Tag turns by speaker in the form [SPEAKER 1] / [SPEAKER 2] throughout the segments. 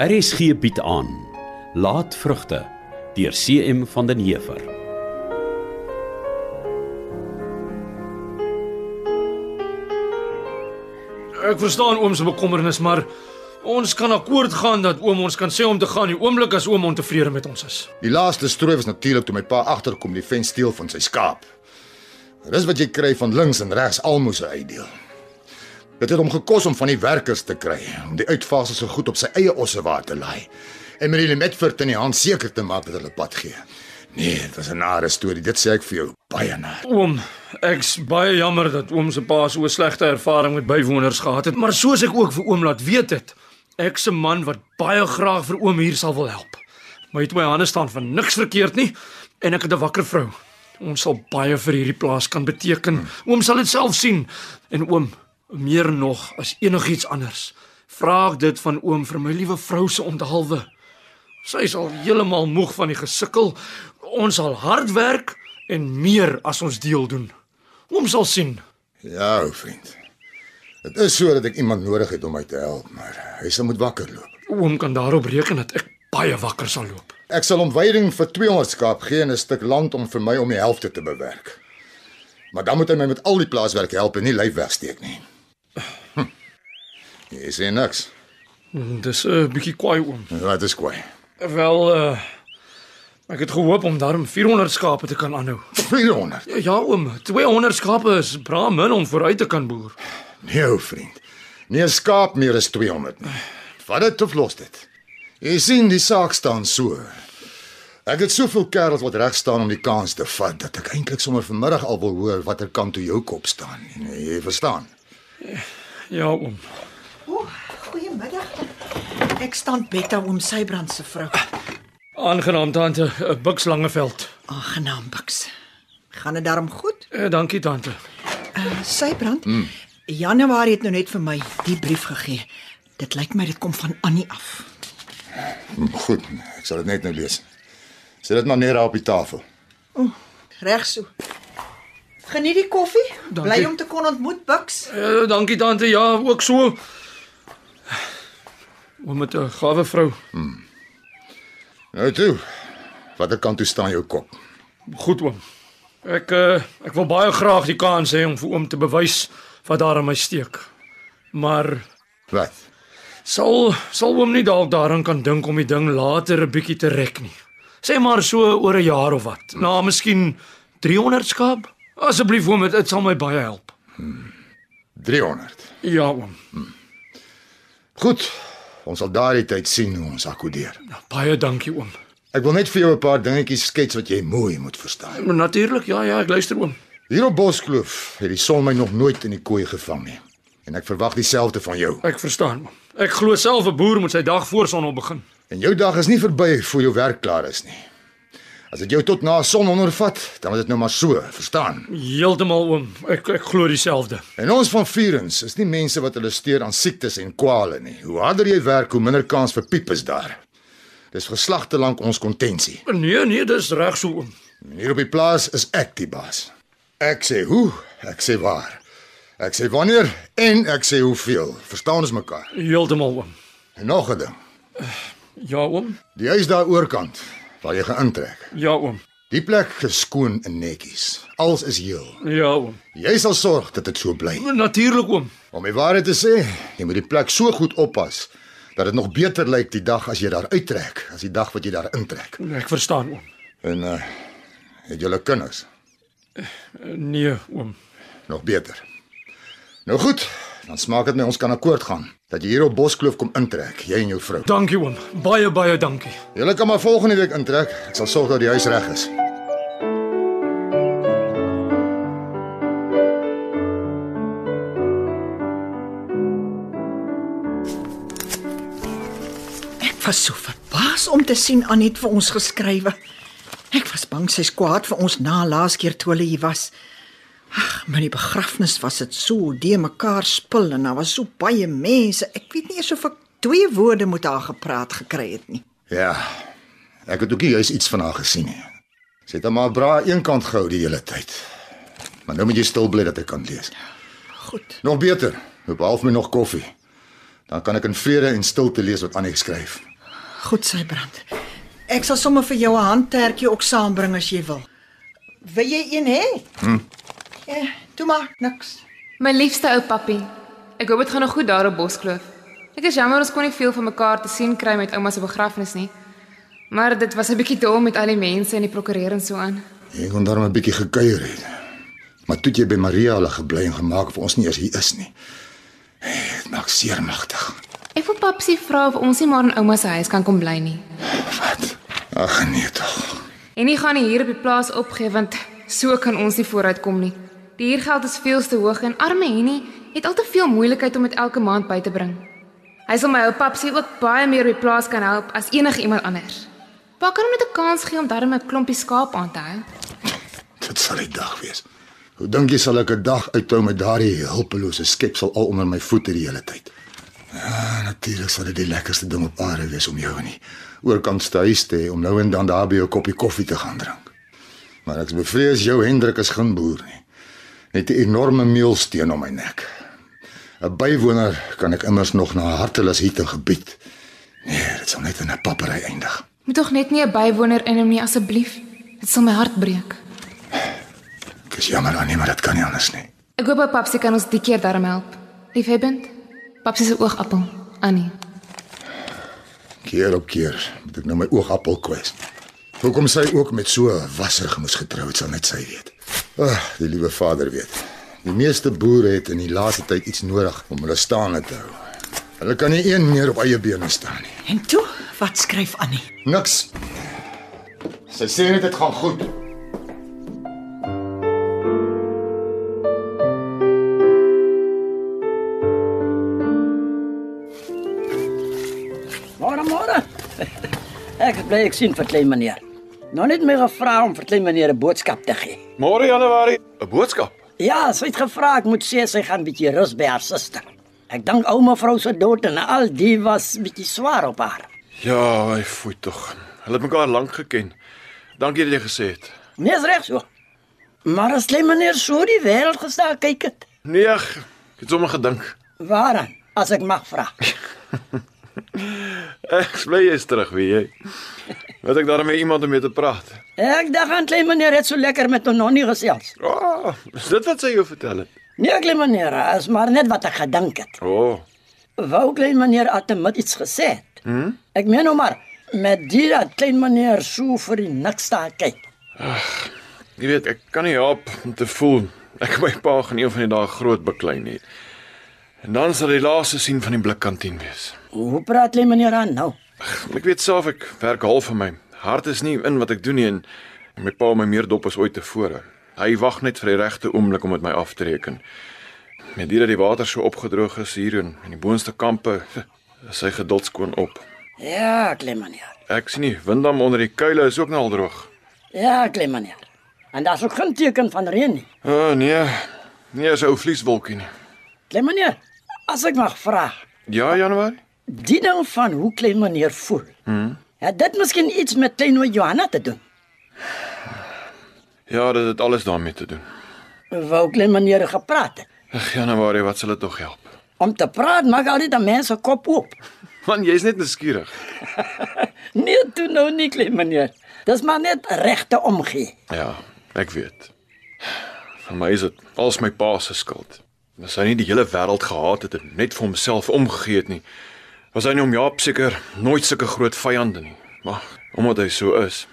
[SPEAKER 1] RSG bied aan Laatvrugte deur CM van den Heever.
[SPEAKER 2] Ek verstaan oom se bekommernis, maar ons kan akkoord gaan dat oom ons kan sê om te gaan die oomblik as oom ontevrede met ons is.
[SPEAKER 3] Die laaste strooi was natuurlik toe my pa agterkom die vent steel van sy skaap. Dis wat jy kry van links en regs almoses uitdeel. Dit het hom gekos om van die werkers te kry, om die uitfase se goed op sy eie ossewaar te laai en met die Medford in die hand seker te maak dat hulle pad gee. Nee, dit was 'n nare storie, dit sê ek vir jou, baie na.
[SPEAKER 2] Oom, ek's baie jammer dat oom se pa so 'n slegte ervaring met bywoners gehad het, maar soos ek ook vir oom laat weet het, ek's 'n man wat baie graag vir oom hier sal wil help. Maar het my hande staan van niks verkeerd nie en ek het 'n wakker vrou. Ons sal baie vir hierdie plaas kan beteken. Hmm. Oom sal dit self sien en oom, meer nog as enigiets anders. Vra ek dit van oom vir my liewe vrou se onthaalwe. Sy is al heeltemal moeg van die gesukkel. Ons sal hard werk en meer as ons deel doen. Ons sal sien.
[SPEAKER 3] Ja, ou vriend. Dit is so dat ek iemand nodig het om my te help, maar hy sal moet wakker loop.
[SPEAKER 2] Oom kan daarop reken dat ek baie wakker sal loop.
[SPEAKER 3] Ek sal hom weiding vir 200 skaap gee en 'n stuk land om vir my om die helfte te bewerk. Maar dan moet hy my met al die plaaswerk help en nie lyf wegsteek nie. Hm. Jy sê niks.
[SPEAKER 2] Hmm, Dis 'n bietjie kwaai oom.
[SPEAKER 3] Wat is kwaai?
[SPEAKER 2] Wel uh ek het gehoop om daarom 400 skape te kan aanhou.
[SPEAKER 3] 400.
[SPEAKER 2] Ja oom, 200 skape is bra min om vooruit te kan boer.
[SPEAKER 3] Nee, ou vriend. Nie 'n skaap meer as 200 nie. Vat dit of los dit. Jy sien die saak staan so. Ek het soveel kerels wat reg staan om die kans te vat dat ek eintlik sommer vanmiddag al wil hoor watter kant toe jou kop staan. Nee, jy verstaan.
[SPEAKER 2] Ja oom.
[SPEAKER 4] Oeh, goeiemiddag. Ek staan Betta oom Sybrand se vrou.
[SPEAKER 2] Aangenaam tante, 'n Bux Langeveld.
[SPEAKER 4] Aangenaam Bux. Gaan dit daarom goed?
[SPEAKER 2] Eh, dankie tante.
[SPEAKER 4] Sybrand. Mm. Januarie het nou net vir my die brief gegee. Dit lyk my dit kom van Annie af.
[SPEAKER 3] Hm, Goed, ek sal dit net nou lees. Sit dit maar neer daar op die tafel.
[SPEAKER 4] Reg so. Geniet die koffie.
[SPEAKER 2] Dankie.
[SPEAKER 4] Bly om te kon ontmoet Bux.
[SPEAKER 2] Eh, dankie tante. Ja, ook so. Oom met 'n gawe vrou.
[SPEAKER 3] Nou toe. Watter kant toe staan jou kop?
[SPEAKER 2] Goed oom. Ek uh, ek wil baie graag die kans hê om vir oom te bewys wat daar in my steek. Maar
[SPEAKER 3] Wat?
[SPEAKER 2] sal sal oom nie dalk daaraan kan dink om die ding later 'n bietjie te rek nie. Sê maar so oor 'n jaar of wat. Na miskien 300 skaap. Asseblief oom, dit- dit sal my baie help.
[SPEAKER 3] 300.
[SPEAKER 2] Ja oom.
[SPEAKER 3] Goed. Ons sal daardie tyd sien hoe ons akkodeer.
[SPEAKER 2] Baie dankie oom.
[SPEAKER 3] Ek wil net vir jou 'n paar dingetjies skets wat jy mooi moet verstaan.
[SPEAKER 2] Natuurlik. Ja ja, ek luister oom.
[SPEAKER 3] Hier op Boskloof het die son my nog nooit in die kooi gevang nie. En ek verwag dieselfde van jou.
[SPEAKER 2] Ek verstaan oom. Ek glo self 'n boer moet sy dag voor sonop begin.
[SPEAKER 3] En jou dag is nie verby voor jou werk klaar is nie. As dit jou tot na sononder vat, dan moet dit nou maar so, verstaan?
[SPEAKER 2] Heeltemal oom. Ek ek glo dieselfde.
[SPEAKER 3] En ons van vierens is nie mense wat hulle steur aan siektes en kwale nie. Hoe harder jy werk, hoe minder kans vir piep is daar. Dis geslagte lank ons kontensie.
[SPEAKER 2] Nee nee, dis reg so oom.
[SPEAKER 3] En hier op die plaas is ek die baas. Ek sê hoe, ek sê waar. Ek sê wanneer en ek sê hoeveel. Verstaan ons mekaar?
[SPEAKER 2] Heeltemal oom.
[SPEAKER 3] En nog 'n ding.
[SPEAKER 2] Ja oom.
[SPEAKER 3] Die huis daar oorkant waar jy gaan intrek.
[SPEAKER 2] Ja oom.
[SPEAKER 3] Die plek geskoon en netjies. Alles is heel.
[SPEAKER 2] Ja oom.
[SPEAKER 3] Jy sal sorg dat dit so bly.
[SPEAKER 2] Natuurlik oom.
[SPEAKER 3] Om die waarheid te sê, jy moet die plek so goed oppas dat dit nog beter lyk die dag as jy daar uittrek, as die dag wat jy daar intrek.
[SPEAKER 2] Ek verstaan oom.
[SPEAKER 3] En uh het julle kinders
[SPEAKER 2] Eh, Nee oom.
[SPEAKER 3] nog beter. Nou goed, dan smaak dit my ons kan akkoord gaan dat jy hier op Boskloof kom intrek, jy en jou vrou.
[SPEAKER 2] Dankie oom. Baie baie dankie.
[SPEAKER 3] Julle kan maar volgende week intrek. Ek sal sorg dat die huis reg is.
[SPEAKER 4] Ek was so verbaas om te sien Anet vir ons geskrywe. Ek was bang sy's kwaad vir ons na laas keer toe hulle hier was. Ag, maar die begrafnis was dit so de mekaar spil en daar was so baie mense. Ek weet nie eers of ek twee woorde met haar gepraat gekry het nie.
[SPEAKER 3] Ja. Ek het ook nie juis iets van haar gesien nie. Sy het hom maar bra aan een kant gehou die hele tyd. Maar nou moet jy stil bly dat ek kan lees.
[SPEAKER 4] Goed.
[SPEAKER 3] Nog beter. Hoop half my nog koffie. Dan kan ek in vrede en stilte lees wat Annie skryf.
[SPEAKER 4] Goed, Sybrand. Ek sal sommer vir jou 'n handtertjie ook saambring as jy wil. Wil jy een hê? Hm. Ja, toe maar, niks.
[SPEAKER 5] My liefste ou pappie. Ek hoop dit gaan nog goed daar op Boskloof. Ek is jammer ons kon nie veel van mekaar te sien kry met ouma se begrafnis nie. Maar dit was 'n bietjie dol met al die mense en die prokureur en so aan.
[SPEAKER 3] Ek kon daar maar 'n bietjie gekuier het. Maar toe het jy by Maria hulle gebly en gemaak of ons nie eers hier is nie. Dit maak seer magtig.
[SPEAKER 5] Ek wil papsie vra of ons nie maar in ouma se huis kan kom bly nie.
[SPEAKER 3] Wat? Ag nee tog.
[SPEAKER 5] En nie gaan nie hier op die plaas opgee want so kan ons nie vooruitkom nie. Die huurgeld is veel te hoog en arme Henny het al te veel moeilikheid om dit elke maand by te bring. Hy sal my ou papsie ook baie meer op die plaas kan help as enige iemand anders. Pa kan hom net 'n kans gee om darm 'n klompie skaap aan te hou.
[SPEAKER 3] Dit sal die dag wees. Hoe dink jy sal ek 'n dag uithou met daardie hulpelose skepsel al onder my voete die hele tyd? Ja, natuurlik sal dit die lekkerste ding op aarde wees om jou in die oorkant te huis te hê om nou en dan daar by jou koppie koffie te gaan drink. Maar ek is bevrees jou Hendrik is geen boer nie. Net 'n enorme meelsteen om my nek. 'n Bywoner kan ek immers nog na 'n hartelus hitte gebied. Nee, dit sal net in 'n pappery eindig.
[SPEAKER 5] Moet tog net nie 'n bywoner in hom nie asseblief. Dit sal my hart breek.
[SPEAKER 3] Ek is jammer aan nie, maar dit kan nie anders nie.
[SPEAKER 5] Ek hoop ou papsie kan ons die keer darm help. Liefhebbend, papsie se oogappel, Annie.
[SPEAKER 3] Keer op keer moet ek nou my oogappel kwes. Hoekom sy ook met so 'n wasserig moes getrou het, sal net sy weet. Ag, die liewe vader weet. Die meeste boere het in die laaste tyd iets nodig om hulle staande te hou. Hulle kan nie een meer op eie bene staan nie.
[SPEAKER 4] En toe, wat skryf Annie?
[SPEAKER 3] Niks. Sy sê net dit gaan goed.
[SPEAKER 6] Môre môre. Ek is bly ek sien vir klein meneer. Nou net my gevra om vir klein meneer 'n boodskap te gee.
[SPEAKER 7] Môre Januarie, 'n boodskap.
[SPEAKER 6] Ja, sy het gevra ek moet sê sy gaan bietjie rus by haar suster. Ek dink ouma vrou se dood en al die was bietjie swaar op haar.
[SPEAKER 7] Ja, hy fooi tog. Hulle het mekaar lank geken. Dankie dat jy gesê het.
[SPEAKER 6] Nee, is reg so. Maar as klein meneer so die wêreld gestaan kyk het.
[SPEAKER 7] Nee, ag, ek het sommer gedink.
[SPEAKER 6] Waaraan? As ek mag vra.
[SPEAKER 7] Ek bly jy's terug, weet jy. Wat ek daarmee iemand om mee te praat.
[SPEAKER 6] Ek dink aan klein meneer het so lekker met hom nonnie gesels.
[SPEAKER 7] O, oh, is dit wat sy jou vertel het?
[SPEAKER 6] Nee, klein meneer, is maar net wat ek gedink het.
[SPEAKER 7] O, oh,
[SPEAKER 6] Wou klein meneer Atemit iets gesê het. Hm? Ek meen nou maar met dit dat klein meneer so vir die niks daar kyk.
[SPEAKER 7] jy weet, ek kan nie help om te voel ek en my pa gaan een van die dae groot beklei nie. En dan sal die laaste sien van die blikkantien wees.
[SPEAKER 6] Hoe praat klein meneer aan nou?
[SPEAKER 7] Ek weet self ek werk half van my. Hart is nie in wat ek doen nie en my pa hou my meer dop as ooit tevore. Hy wag net vir die regte oomblik om met my af te reken. Met dit dat die water so opgedroog is hier in in die boonste kampe, is sy geduld skoon op.
[SPEAKER 6] Ja, klein meneer.
[SPEAKER 7] Ek sien nie windam onder die kuile is ook nou al droog.
[SPEAKER 6] Ja, klein meneer. En daar's ook geen teken van reën nie.
[SPEAKER 7] O oh, nee. Nee, is ou vlieswolkie nie.
[SPEAKER 6] Klein meneer, as ek mag vra,
[SPEAKER 7] Ja, Januarie.
[SPEAKER 6] die ding van hoe klein meneer voel. Hm? Het dit miskien iets met klein oom Johanna te doen?
[SPEAKER 7] Ja, dit het alles daarmee te doen.
[SPEAKER 6] Wou klein meneer gepraat het.
[SPEAKER 7] Ag Januarie, wat sal dit tog help?
[SPEAKER 6] Om te praat maak altyd 'n mens se kop oop.
[SPEAKER 7] Man, jy's net nuuskierig.
[SPEAKER 6] Nee, toe nou nie klein meneer. Dis maar net regte omgee.
[SPEAKER 7] Ja, ek weet. Vir my is dit als my pa se skuld. As hy nie die hele wêreld gehaat het en net vir homself omgegee het nie, was hy nie om Jaap seker nooit sulke groot vyande nie. Maar omdat hy so is,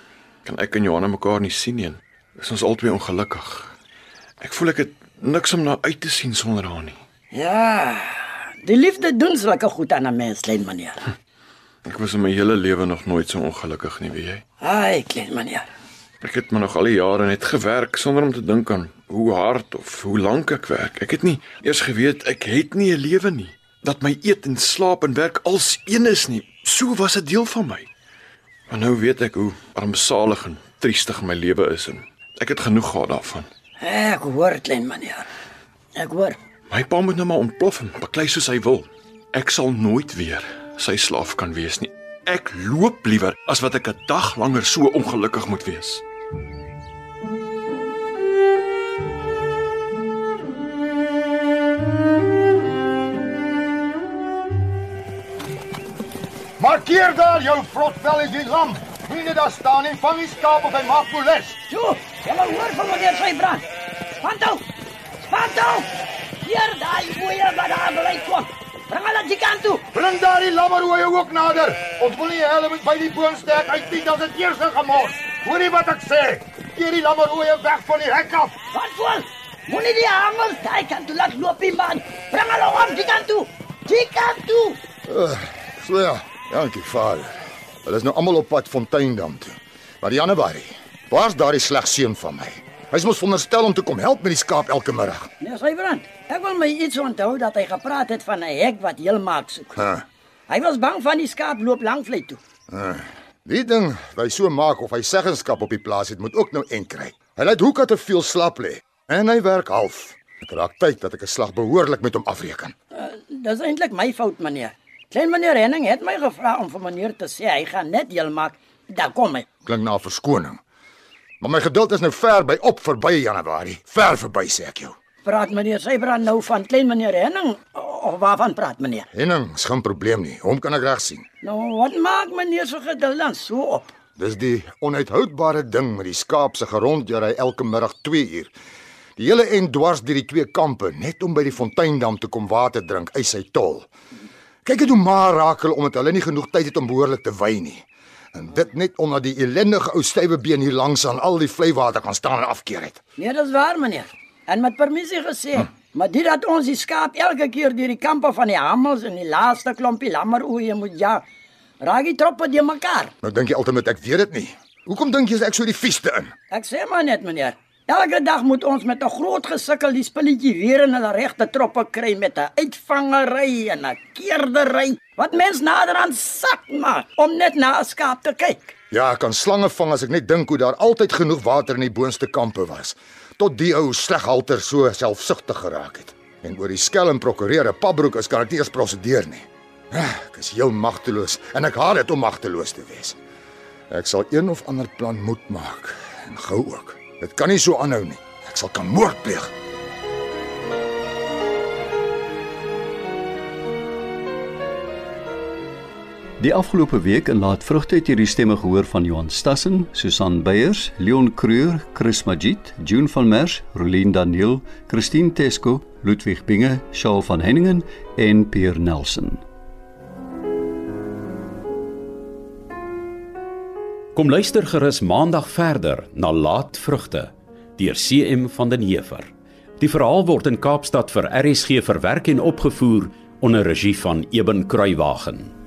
[SPEAKER 7] kan ek en Johanna mekaar nie sien nie. en Is ons albei ongelukkig. Ek voel ek het niks om na uit te sien sonder haar nie.
[SPEAKER 6] Ja, die liefde doen sulke goed aan 'n mens, klein meneer.
[SPEAKER 7] Ek was in my hele lewe nog nooit so ongelukkig nie, weet jy?
[SPEAKER 6] Ai, klein meneer.
[SPEAKER 7] Ek het maar nog al die jare net gewerk sonder om te dink aan hoe hard of hoe lank ek werk. Ek het nie eers geweet ek het nie 'n lewe nie. Dat my eet en slaap en werk als een is nie. So was dit deel van my. Maar nou weet ek hoe armsalig en triestig my lewe is en ek het genoeg gehad daarvan.
[SPEAKER 6] Ek hoor, klein meneer. Ek hoor.
[SPEAKER 7] My pa moet nou maar ontplof en beklei soos hy wil. Ek sal nooit weer sy slaaf kan wees nie. Ek loop liewer as wat ek 'n dag langer so ongelukkig moet wees.
[SPEAKER 3] Parkeer daar jou vrotvel en die lam. Moenie daar staan nie, vang die skaap of hy maak polis.
[SPEAKER 6] Toe, jy moet hoor van meneer Sybrand. Spanto! Spanto! Hier daai boeie wat daar bly kom. Bring hulle die kant toe.
[SPEAKER 3] Bring daardie lammerhoeie ook nader. Ons wil nie hê hulle moet by die boomstek uit nie, dan het eers gemors. Hoorie wat ek sê. Keer die lammerhoeie weg van die hek af.
[SPEAKER 6] Wat voor? Moenie die hangels daai kant toe laat loop nie man. Bring hulle op die kant toe. Die kant toe.
[SPEAKER 3] So ja, dankie Vader. Hulle is nou almal op pad Fonteindam toe. Maar Januarie, waar's daardie sleg seun van my? Hy's mos veronderstel om te kom help met die skaap elke middag.
[SPEAKER 6] Meneer Sybrand, ek wil my iets onthou dat hy gepraat het van 'n hek wat heel maak soek.
[SPEAKER 3] Ha.
[SPEAKER 6] Hy was bang van die skaap loop langvlei toe.
[SPEAKER 3] Die ding, hy so maak of hy seggenskap op die plaas het, moet ook nou end kry. Hy laat Hoeka te veel slaap lê en hy werk half. Dit raak tyd dat ek 'n slag behoorlik met hom afreken.
[SPEAKER 6] Eh, Dis eintlik my fout, meneer. Klein meneer Henning het my gevra om vir meneer te sê hy gaan net heel maak. Dan kom hy.
[SPEAKER 3] Klink na 'n verskoning. Maar my geduld is nou ver by op verby Januarie. Ver verby sê ek jou.
[SPEAKER 6] Praat meneer Sybrand nou van klein meneer Henning of waarvan praat meneer?
[SPEAKER 3] Henning, is geen probleem nie. Hom kan ek reg sien.
[SPEAKER 6] Nou, wat maak meneer so geduld dan so op?
[SPEAKER 3] Dis die onhoudbare ding met die skaap se gerondjare elke middag 2 uur. Die hele en dwars deur die twee kampe net om by die fonteindam te kom water drink, eis hy tol. Kyk dit hoe maar raak hulle omdat hulle nie genoeg tyd het om behoorlik te wy nie. En dit net omdat die ellendige ou stywe been hier langs aan al die vlei water gaan staan en afkeer het.
[SPEAKER 6] Nee, dis waar meneer. En met permissie gesê, hm. maar dit dat ons die skaap elke keer deur die kampe van die hamels en die laaste klompie lammeroeie moet ja, raak die troppe die mekaar.
[SPEAKER 3] Nou dink jy altyd ek weet dit nie. Hoekom dink jy is ek so die vieste in?
[SPEAKER 6] Ek sê maar net meneer, elke dag moet ons met 'n groot gesukkel die spulletjie weer in hulle regte troppe kry met 'n uitvangery en 'n keerdery wat mens nader aan sak maak om net na 'n skaap te kyk.
[SPEAKER 3] Ja, ek kan slange vang as ek net dink hoe daar altyd genoeg water in die boonste kampe was. Tot die ou sleghalter so selfsugtig geraak het. En oor die skelm prokureer 'n papbroek is kan ek nie eers prosedeer nie. Ah, Ek is heel magteloos en ek haat dit om magteloos te wees. Ek sal een of ander plan moet maak en gou ook. Dit kan nie so aanhou nie. Ek sal kan moord pleeg.
[SPEAKER 1] Die afgelope week in Laatvrugte het hierdie stemme gehoor van Johan Stassen, Susan Beyers, Leon Creur, Chris Magid, June van Merwe, Rolien Daniel, Christine Tesco, Ludwig Binge, Shaal van Henningen en Pierre Nelson. Kom luister gerus maandag verder na Laatvrugte deur CM van den Heever. Die verhaal word in Kaapstad vir RSG verwerk en opgevoer onder regie van Eben Kruiwagen.